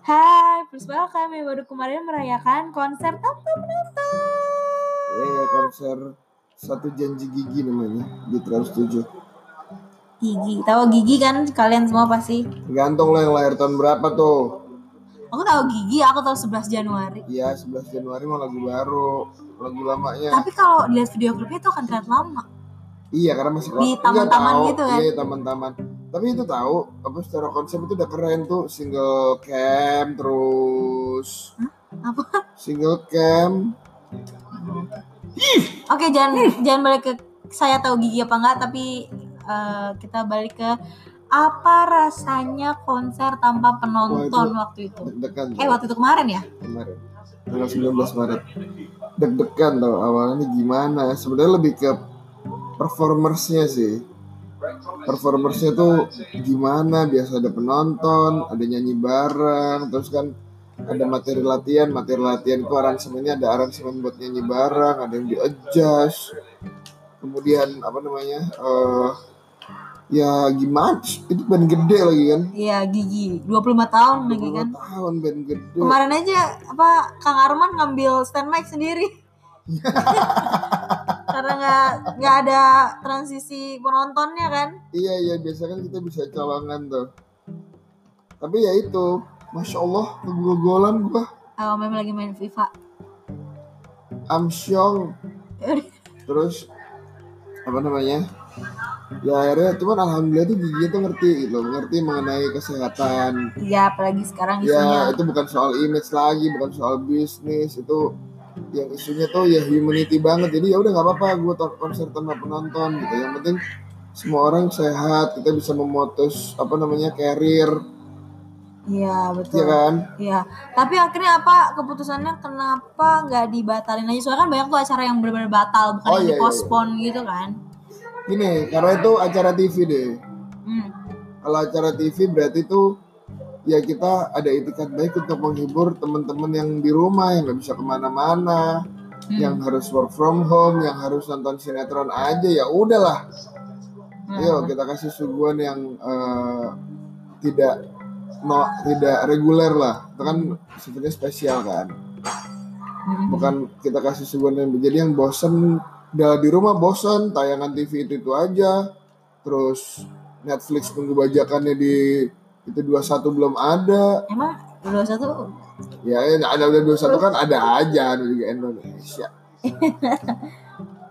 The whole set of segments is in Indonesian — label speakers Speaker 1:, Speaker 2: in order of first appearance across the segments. Speaker 1: Hai, please welcome yang baru kemarin merayakan konser tanpa penonton.
Speaker 2: Eh, konser satu janji gigi namanya di Trans 7.
Speaker 1: Gigi, tahu gigi kan kalian semua pasti.
Speaker 2: Tergantung lo yang lahir tahun berapa tuh.
Speaker 1: Aku tahu gigi, aku tahu 11 Januari.
Speaker 2: Iya, 11 Januari mau lagu baru, lagu lamanya.
Speaker 1: Tapi kalau dilihat video klipnya itu akan terlihat lama.
Speaker 2: Iya, karena masih
Speaker 1: Di
Speaker 2: Nggak
Speaker 1: taman-taman
Speaker 2: tahu.
Speaker 1: gitu kan?
Speaker 2: Iya, taman-taman. Tapi itu tahu, apa secara konsep itu udah keren tuh, single cam terus
Speaker 1: Hmm? Apa?
Speaker 2: single cam.
Speaker 1: Oke, jangan jangan balik ke saya tahu gigi apa enggak, tapi eh, kita balik ke apa rasanya konser tanpa penonton
Speaker 2: Wah, itu-
Speaker 1: waktu itu?
Speaker 2: Deg-degan
Speaker 1: Eh,
Speaker 2: tuh,
Speaker 1: waktu itu kemarin ya?
Speaker 2: kemarin. Tanggal 19 Maret. Deg-degan tau awalnya gimana. Sebenarnya lebih ke performersnya sih. Performersnya tuh gimana biasa ada penonton, ada nyanyi bareng, terus kan ada materi latihan, materi latihan itu aransemennya ada aransemen buat nyanyi bareng, ada yang di adjust. Kemudian apa namanya? eh ya gimana? Itu band gede lagi kan.
Speaker 1: Iya, gigi. 25 tahun lagi kan.
Speaker 2: 25 tahun band gede.
Speaker 1: Kemarin aja apa Kang Arman ngambil stand mic sendiri. Karena nggak nggak ada transisi penontonnya kan.
Speaker 2: Iya iya biasa kan kita bisa colongan tuh. Tapi ya itu, masya Allah kegogolan gua.
Speaker 1: Oh, memang lagi main FIFA.
Speaker 2: Amsyong terus apa namanya? Ya akhirnya cuman alhamdulillah tuh giginya tuh ngerti gitu, loh, ngerti mengenai kesehatan.
Speaker 1: Iya, apalagi sekarang
Speaker 2: Ya
Speaker 1: isunya
Speaker 2: itu bukan soal image lagi, bukan soal bisnis itu yang isunya tuh ya humanity banget jadi ya udah nggak apa-apa gue konser tanpa penonton gitu yang penting semua orang sehat kita bisa memutus apa namanya karir
Speaker 1: Iya,
Speaker 2: ya
Speaker 1: betul.
Speaker 2: kan
Speaker 1: Iya. Tapi akhirnya apa keputusannya kenapa nggak dibatalin aja? Soalnya kan banyak tuh acara yang benar-benar batal, bukan yang
Speaker 2: Oh, iya, iya,
Speaker 1: dipospon gitu kan.
Speaker 2: Gini, karena itu acara TV deh.
Speaker 1: Hmm.
Speaker 2: Kalau acara TV berarti tuh ya kita ada etikat baik untuk menghibur teman-teman yang di rumah yang nggak bisa kemana-mana,
Speaker 1: Hmm.
Speaker 2: yang harus work from home, yang harus nonton sinetron aja ya udahlah.
Speaker 1: Hmm.
Speaker 2: Yuk kita kasih suguhan yang eh, tidak no, tidak reguler lah. Itu kan sifatnya spesial kan.
Speaker 1: Hmm.
Speaker 2: Bukan kita kasih suguhan yang jadi yang bosen udah di rumah bosen tayangan TV itu itu aja terus Netflix tunggu bajakannya di itu 21 belum ada
Speaker 1: Emang dua satu
Speaker 2: ya ya, ada ada 21 kan ada aja ada juga Indonesia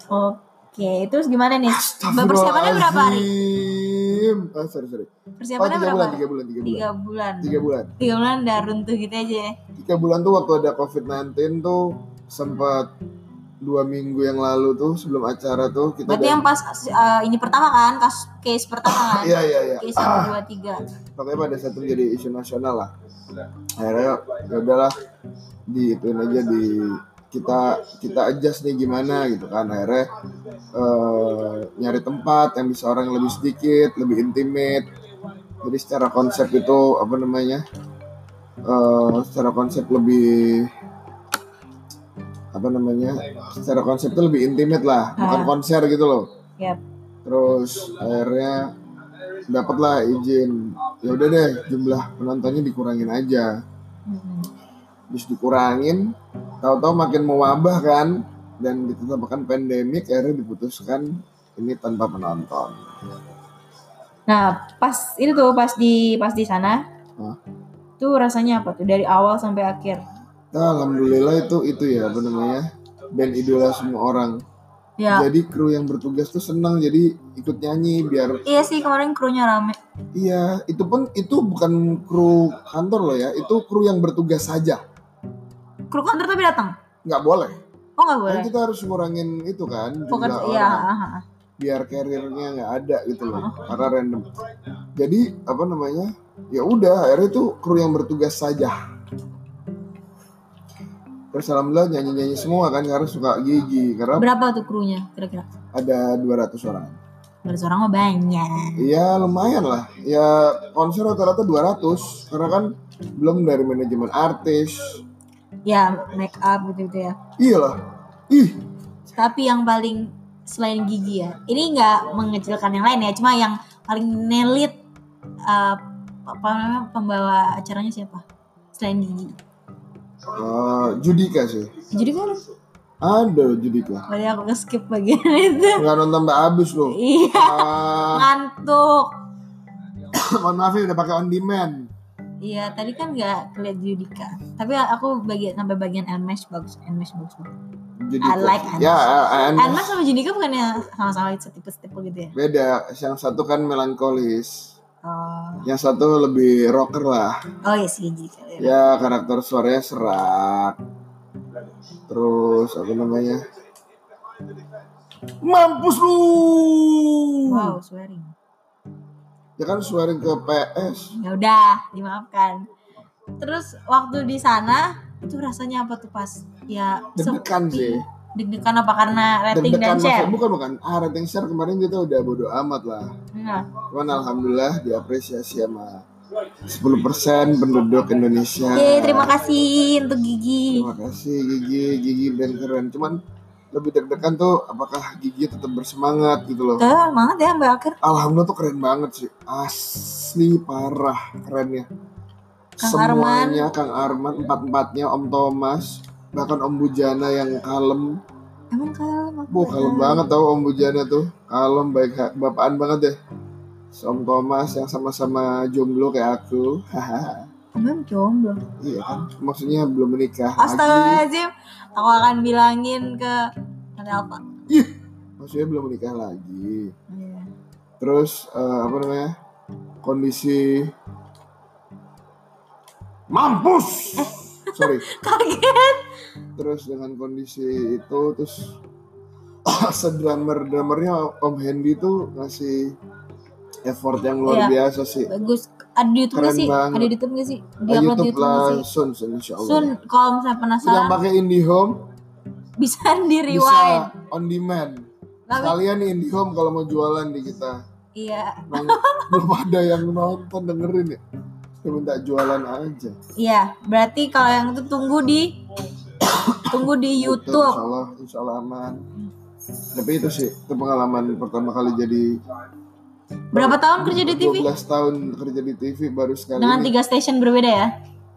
Speaker 1: Oke, terus gimana nih? Persiapannya berapa hari?
Speaker 2: Astagfirullahaladzim ah sorry sorry oh
Speaker 1: Persiapannya
Speaker 2: tiga
Speaker 1: berapa
Speaker 2: bulan
Speaker 1: hari?
Speaker 2: tiga bulan tiga bulan
Speaker 1: Tiga bulan.
Speaker 2: tiga bulan
Speaker 1: Tiga bulan udah runtuh gitu aja ya.
Speaker 2: tiga bulan tuh waktu ada COVID-19 tuh sempat dua minggu yang lalu tuh sebelum acara tuh kita
Speaker 1: Berarti yang pas eh, ini pertama kan, kas case pertama kan?
Speaker 2: iya iya iya
Speaker 1: Case satu dua tiga.
Speaker 2: pokoknya pada saat itu jadi isu nasional lah akhirnya ya udahlah diituin aja di kita kita adjust nih gimana gitu kan akhirnya eh, nyari tempat yang bisa orang lebih sedikit lebih intimate jadi secara konsep itu apa namanya eh, secara konsep lebih apa namanya secara konsep itu lebih intimate lah bukan
Speaker 1: Ah.
Speaker 2: konser gitu loh
Speaker 1: Yap.
Speaker 2: terus akhirnya dapatlah izin ya udah deh jumlah penontonnya dikurangin aja
Speaker 1: Mm-mm.
Speaker 2: terus dikurangin tahu-tahu makin mewabah kan dan ditetapkan pandemik akhirnya diputuskan ini tanpa penonton
Speaker 1: Nah, pas itu tuh pas di pas di sana,
Speaker 2: Hah?
Speaker 1: tuh rasanya apa tuh dari awal sampai akhir?
Speaker 2: Nah, alhamdulillah itu itu ya apa namanya band idola semua orang
Speaker 1: Ya,
Speaker 2: jadi kru yang bertugas tuh senang jadi ikut nyanyi biar
Speaker 1: iya sih kemarin krunya rame.
Speaker 2: iya itu pun itu bukan kru kantor loh ya itu kru yang bertugas saja
Speaker 1: Kru counter tapi datang.
Speaker 2: nggak boleh
Speaker 1: Oh nggak boleh.
Speaker 2: kan kita harus ngurangin itu kan
Speaker 1: Bukan,
Speaker 2: jumlah
Speaker 1: iya. Uh-huh.
Speaker 2: orang.
Speaker 1: ah, ah.
Speaker 2: biar karirnya nggak ada gitu loh karena random jadi apa namanya ya udah akhirnya tuh kru yang bertugas saja terus alhamdulillah nyanyi nyanyi semua kan karena suka gigi karena
Speaker 1: Berapa tuh krunya kira-kira?
Speaker 2: ada 200 orang
Speaker 1: Berapa orang mah banyak.
Speaker 2: Iya lumayan lah ya konser rata-rata 200 karena kan belum dari manajemen artis
Speaker 1: Ya, make up gitu-gitu ya.
Speaker 2: iyalah ih
Speaker 1: Tapi yang paling selain gigi ya, ini nggak mengecilkan yang lain ya, cuma yang paling nelit eh, apa namanya, pembawa acaranya siapa? selain Gigi?
Speaker 2: Eh, Judika sih
Speaker 1: Jadi kan
Speaker 2: ada Judika
Speaker 1: Boleh aku skip bagian itu.
Speaker 2: nggak nonton mbak abis loh
Speaker 1: Iya,
Speaker 2: Ah,
Speaker 1: ngantuk.
Speaker 2: mohon maaf ya udah pakai on demand
Speaker 1: Iya, tadi kan nggak kelihatan Judika. Tapi aku bagian sampai bagian Elmesh bagus, Elmesh bagus. banget.
Speaker 2: Judika
Speaker 1: I like Anmesh.
Speaker 2: ya Anmesh
Speaker 1: Elmesh sama Judika bukannya sama-sama setipe-setipe gitu ya?
Speaker 2: beda yang satu kan melankolis
Speaker 1: Oh,
Speaker 2: yang satu lebih rocker lah
Speaker 1: oh iya sih Judika. Iya.
Speaker 2: ya karakter suaranya serak terus apa namanya mampus lu
Speaker 1: Wow, swearing.
Speaker 2: ya kan suara ke PS
Speaker 1: Ya udah, dimaafkan. Terus waktu di sana itu rasanya apa tuh pas ya
Speaker 2: deg-degan
Speaker 1: sepi?
Speaker 2: sih
Speaker 1: Deg-degan apa karena rating dan
Speaker 2: deg-degan
Speaker 1: share?
Speaker 2: maksud- bukan bukan ah rating share kemarin kita udah bodo amat lah
Speaker 1: Nah,
Speaker 2: cuman alhamdulillah diapresiasi sama 10% penduduk Indonesia
Speaker 1: Yeay, terima kasih untuk Gigi.
Speaker 2: Terima kasih Gigi, Gigi brand keren. Cuman lebih deg-degan tuh apakah Gigi tetap bersemangat gitu loh.
Speaker 1: Tuh, banget ya Mbak Akhir.
Speaker 2: Alhamdulillah tuh keren banget sih. Asli parah kerennya.
Speaker 1: Kang
Speaker 2: Semuanya Kang Arman, empat-empatnya Om Thomas, bahkan Om Bujana yang kalem.
Speaker 1: Emang kalem aku.
Speaker 2: Bu, kalem banget tau Om Bujana tuh. Kalem baik ha- bapaan banget deh. So, Om Thomas yang sama-sama jomblo kayak aku. Hahaha.
Speaker 1: Emang jomblo.
Speaker 2: iya kan? Maksudnya belum menikah lagi.
Speaker 1: Astagfirullahaladzim. Aku akan bilangin ke Tante Alfa.
Speaker 2: Maksudnya belum menikah lagi.
Speaker 1: Iya.
Speaker 2: terus eh, apa namanya kondisi mampus sorry
Speaker 1: Kaget.
Speaker 2: terus dengan kondisi itu terus sedrummer drummernya Om Hendy tuh ngasih effort yang
Speaker 1: Iya.
Speaker 2: luar biasa sih
Speaker 1: Bagus. Ada di YouTube
Speaker 2: Keren
Speaker 1: nggak sih?
Speaker 2: banget.
Speaker 1: Ada di YouTube nggak sih? Di
Speaker 2: Di
Speaker 1: upload di
Speaker 2: YouTube
Speaker 1: YouTube nggak sih?
Speaker 2: langsung sun insya
Speaker 1: Sun,
Speaker 2: Allah
Speaker 1: kalau misalnya
Speaker 2: yang
Speaker 1: penasaran
Speaker 2: pakai IndiHome
Speaker 1: bisa di rewind.
Speaker 2: bisa on demand
Speaker 1: Tapi
Speaker 2: kalian IndiHome kalau mau jualan di kita
Speaker 1: iya,
Speaker 2: Nong- belum ada yang nonton dengerin ya Kita minta jualan aja
Speaker 1: iya. Berarti kalau yang itu tunggu di tunggu di
Speaker 2: Insya
Speaker 1: YouTube.
Speaker 2: Allah, insya Allah aman. Tapi itu sih, itu pengalaman pertama kali jadi
Speaker 1: Berapa tahun kerja di TV?
Speaker 2: 12 tahun kerja di TV baru sekali
Speaker 1: Dengan
Speaker 2: ini.
Speaker 1: tiga stasiun berbeda ya?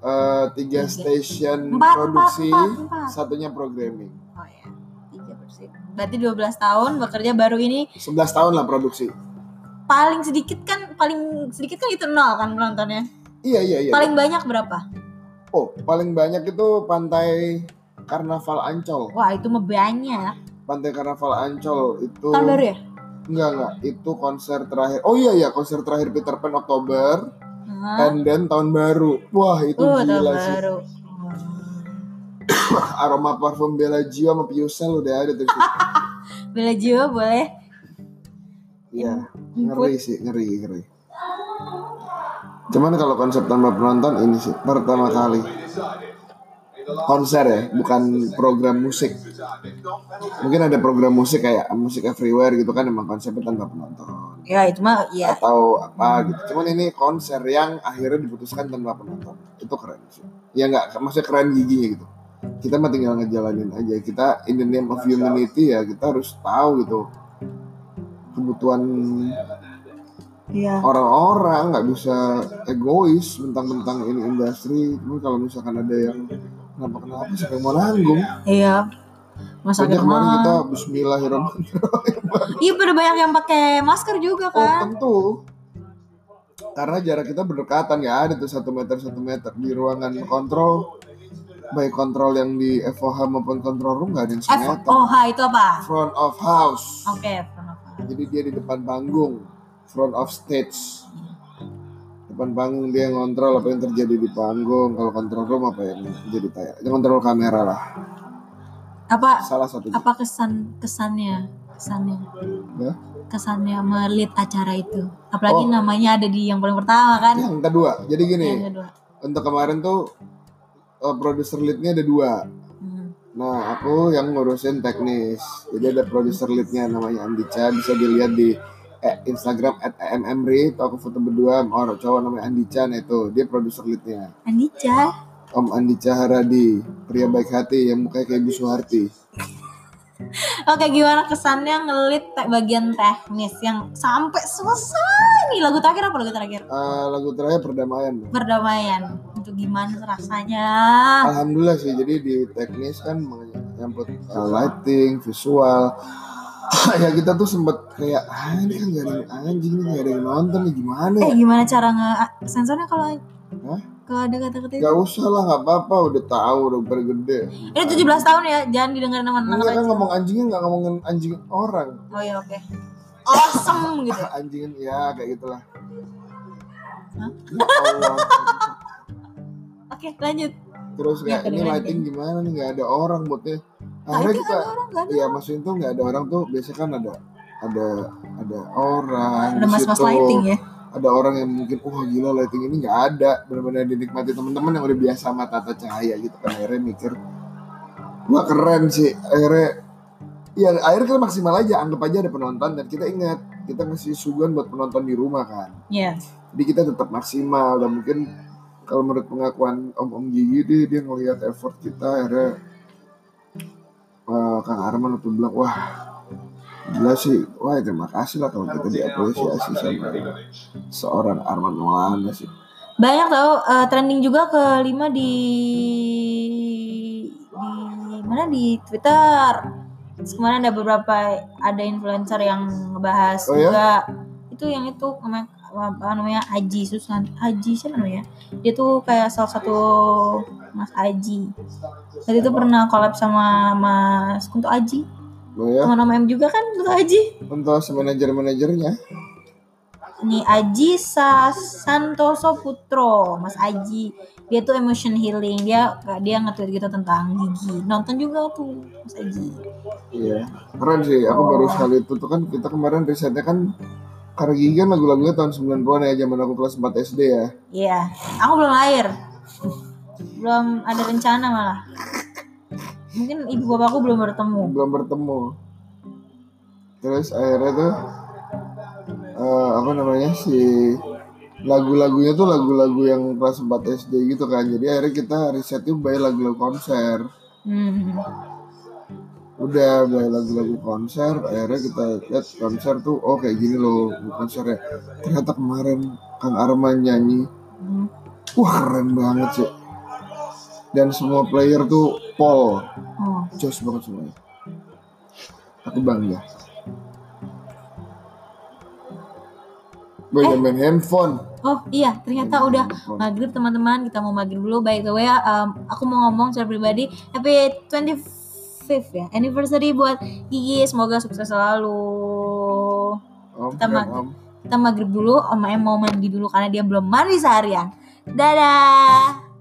Speaker 2: Eh, tiga station
Speaker 1: Empat,
Speaker 2: produksi,
Speaker 1: empat, empat, empat.
Speaker 2: satunya programming.
Speaker 1: Oh ya. Tiga bersih. Berarti 12 tahun bekerja baru ini
Speaker 2: 11 tahun lah produksi.
Speaker 1: paling sedikit kan paling sedikit kan itu nol kan penontonnya.
Speaker 2: Iya, iya, iya.
Speaker 1: Paling banyak berapa?
Speaker 2: Oh, paling banyak itu pantai Karnaval Ancol.
Speaker 1: Wah itu mah banyak.
Speaker 2: Pantai Karnaval Ancol itu
Speaker 1: Tahun baru ya?
Speaker 2: enggak enggak, itu konser terakhir. Oh iya iya, konser terakhir Peter Pan Oktober
Speaker 1: Hah?
Speaker 2: and then tahun baru. Wah, itu
Speaker 1: Uh, Ah, tahun
Speaker 2: gila sih.
Speaker 1: baru.
Speaker 2: aroma parfum Bella Gio sama Piusel udah ada tuh.
Speaker 1: Bela jiwa boleh.
Speaker 2: Iya, ngeri sih, ngeri, ngeri. Cuman kalau konsep tanpa penonton ini sih pertama kali konser ya, bukan program musik. Mungkin ada program musik kayak musik everywhere gitu kan emang konsepnya tanpa penonton
Speaker 1: Ya itu mah ya
Speaker 2: atau apa gitu. Cuman ini konser yang akhirnya diputuskan tanpa penonton. Itu keren sih. Ya nggak, maksudnya keren giginya gitu. Kita mah tinggal ngejalanin aja. Kita in the name of humanity ya kita harus tahu gitu kebutuhan
Speaker 1: ya.
Speaker 2: Iya. orang-orang nggak bisa egois bentang-bentang ini industri. Cuman kalau misalkan ada yang kenapa kenapa siapa yang mau nanggung?
Speaker 1: Iya. Masa
Speaker 2: Sejak kemarin kita
Speaker 1: kita...
Speaker 2: Bismillahirrahmanirrahim.
Speaker 1: Iya pada banyak yang pakai masker juga
Speaker 2: Oh
Speaker 1: kan.
Speaker 2: tentu karena jarak kita berdekatan nggak ada tuh satu meter satu meter di ruangan kontrol baik kontrol yang di FOH maupun kontrol room nggak ada yang semeter
Speaker 1: FOH oh, itu apa?
Speaker 2: front of house
Speaker 1: Oke, FOH.
Speaker 2: jadi dia di depan panggung front of stage depan panggung dia yang ngontrol apa yang terjadi di panggung kalau kontrol room apa yang jadi tayang Dia kontrol kamera lah
Speaker 1: Apa
Speaker 2: salah satunya
Speaker 1: apa kesan kesannya kesannya
Speaker 2: Ya.
Speaker 1: kesannya melit acara itu apalagi
Speaker 2: Oh.
Speaker 1: namanya ada di yang paling pertama kan
Speaker 2: yang kedua jadi gini
Speaker 1: yang kedua
Speaker 2: untuk kemarin tuh eh, produser leadnya ada dua
Speaker 1: Hmm.
Speaker 2: Nah, aku yang ngurusin teknis. Jadi ada produser leadnya namanya Andica. Bisa dilihat di eh, Instagram at emmri. Tuh aku foto berdua sama orang cowok namanya Andica. Nah itu, dia produser leadnya.
Speaker 1: Andica
Speaker 2: Om Andica Haradi, pria baik hati yang mukanya kayak Bu Suharti.
Speaker 1: Oke, gimana kesannya ngelit te- bagian teknis yang sampai selesai nih lagu terakhir apa lagu terakhir?
Speaker 2: Eh, lagu terakhir perdamaian
Speaker 1: Berdamaian. Itu gimana rasanya?
Speaker 2: Alhamdulillah sih, jadi di teknis kan menyangkut uh, lighting, visual Ya kita tuh sempet kayak, ah ini kan gak ada yang anjing, ini gak ada yang nonton, nih gimana ya
Speaker 1: Eh, gimana cara nge sensornya kalau
Speaker 2: Hah?
Speaker 1: kalau ada kata-kata itu?
Speaker 2: Gak usah lah, gak apa-apa, udah tahu udah bergede
Speaker 1: Ini 17 tahun ya, jangan didengar sama anak
Speaker 2: Enggak kan
Speaker 1: kecil.
Speaker 2: ngomong anjingnya gak ngomongin anjing orang
Speaker 1: Oh iya, oke. Awesome gitu.
Speaker 2: Anjingin, ya kayak gitulah
Speaker 1: Hah?
Speaker 2: Ya Allah.
Speaker 1: Oke, lanjut.
Speaker 2: Terus kayak
Speaker 1: Ya,
Speaker 2: ini
Speaker 1: kedengeran
Speaker 2: lighting gimana nih, gak ada orang buatnya Akhirnya
Speaker 1: Tadi
Speaker 2: kita,
Speaker 1: ada orang nggak ada?
Speaker 2: Iya maksudnya tuh nggak ada orang tuh biasanya kan ada ada ada orang
Speaker 1: Ada
Speaker 2: di
Speaker 1: mas-mas
Speaker 2: situ.
Speaker 1: lighting ya.
Speaker 2: ada orang yang mungkin wah gila lighting ini nggak ada benar-benar dinikmati teman-teman yang udah biasa sama tata cahaya gitu kan akhirnya mikir wah keren sih akhirnya ya akhirnya kita maksimal aja anggap aja ada penonton dan kita ingat kita ngasih suguhan buat penonton di rumah kan
Speaker 1: Iya.
Speaker 2: jadi kita tetap maksimal dan mungkin kalau menurut pengakuan Om Om Gigi dia dia ngelihat effort kita akhirnya eh, Kang Arman waktu bilang wah gila sih wah ya terima kasih lah kalau kita diapresiasi sama seorang Arman Maulana sih
Speaker 1: Banyak tau eh, trending juga kelima di di mana di Twitter. Terus kemarin ada beberapa ada influencer yang ngebahas
Speaker 2: Oh ya?
Speaker 1: juga itu yang itu namanya apa namanya Aji Susan Aji siapa namanya dia tuh kayak salah satu Mas Aji tadi itu pernah collab sama Mas Kunto Aji
Speaker 2: lo ya
Speaker 1: teman om M juga kan Kunto Aji
Speaker 2: untuk manajer-manajernya
Speaker 1: ini Aji Sa- Santoso Putro Mas Aji dia tuh emotion healing dia dia nge-tweet gitu tentang gigi nonton juga tuh Mas Aji
Speaker 2: iya keren sih aku baru sekali itu tuh kan kita kemarin risetnya kan karena Gigi kan lagu-lagunya tahun 90-an ya zaman aku kelas 4 SD ya
Speaker 1: iya aku belum lahir belum ada rencana malah mungkin ibu bapakku belum bertemu
Speaker 2: belum bertemu terus akhirnya tuh eh, apa namanya si lagu-lagunya tuh lagu-lagu yang kelas 4 SD gitu kan jadi akhirnya kita riset tuh by lagu-lagu konser
Speaker 1: hmm.
Speaker 2: udah by lagu-lagu konser akhirnya kita lihat konser tuh oh kayak gini loh konsernya ternyata kemarin Kang Arman nyanyi
Speaker 1: Hmm.
Speaker 2: wah keren banget sih dan semua player tuh Paul
Speaker 1: Oh.
Speaker 2: jos banget semuanya aku bangga Gue udah main handphone
Speaker 1: Oh iya, ternyata
Speaker 2: Main
Speaker 1: udah
Speaker 2: handphone.
Speaker 1: maghrib teman-teman. Kita mau maghrib dulu. By the way, um, aku mau ngomong secara pribadi, happy 25th ya anniversary buat Gigi. Semoga sukses selalu.
Speaker 2: Om,
Speaker 1: Kita
Speaker 2: keren,
Speaker 1: mag-
Speaker 2: om.
Speaker 1: Kita maghrib dulu. Om Em mau mandi dulu karena dia belum mandi seharian. Dadah.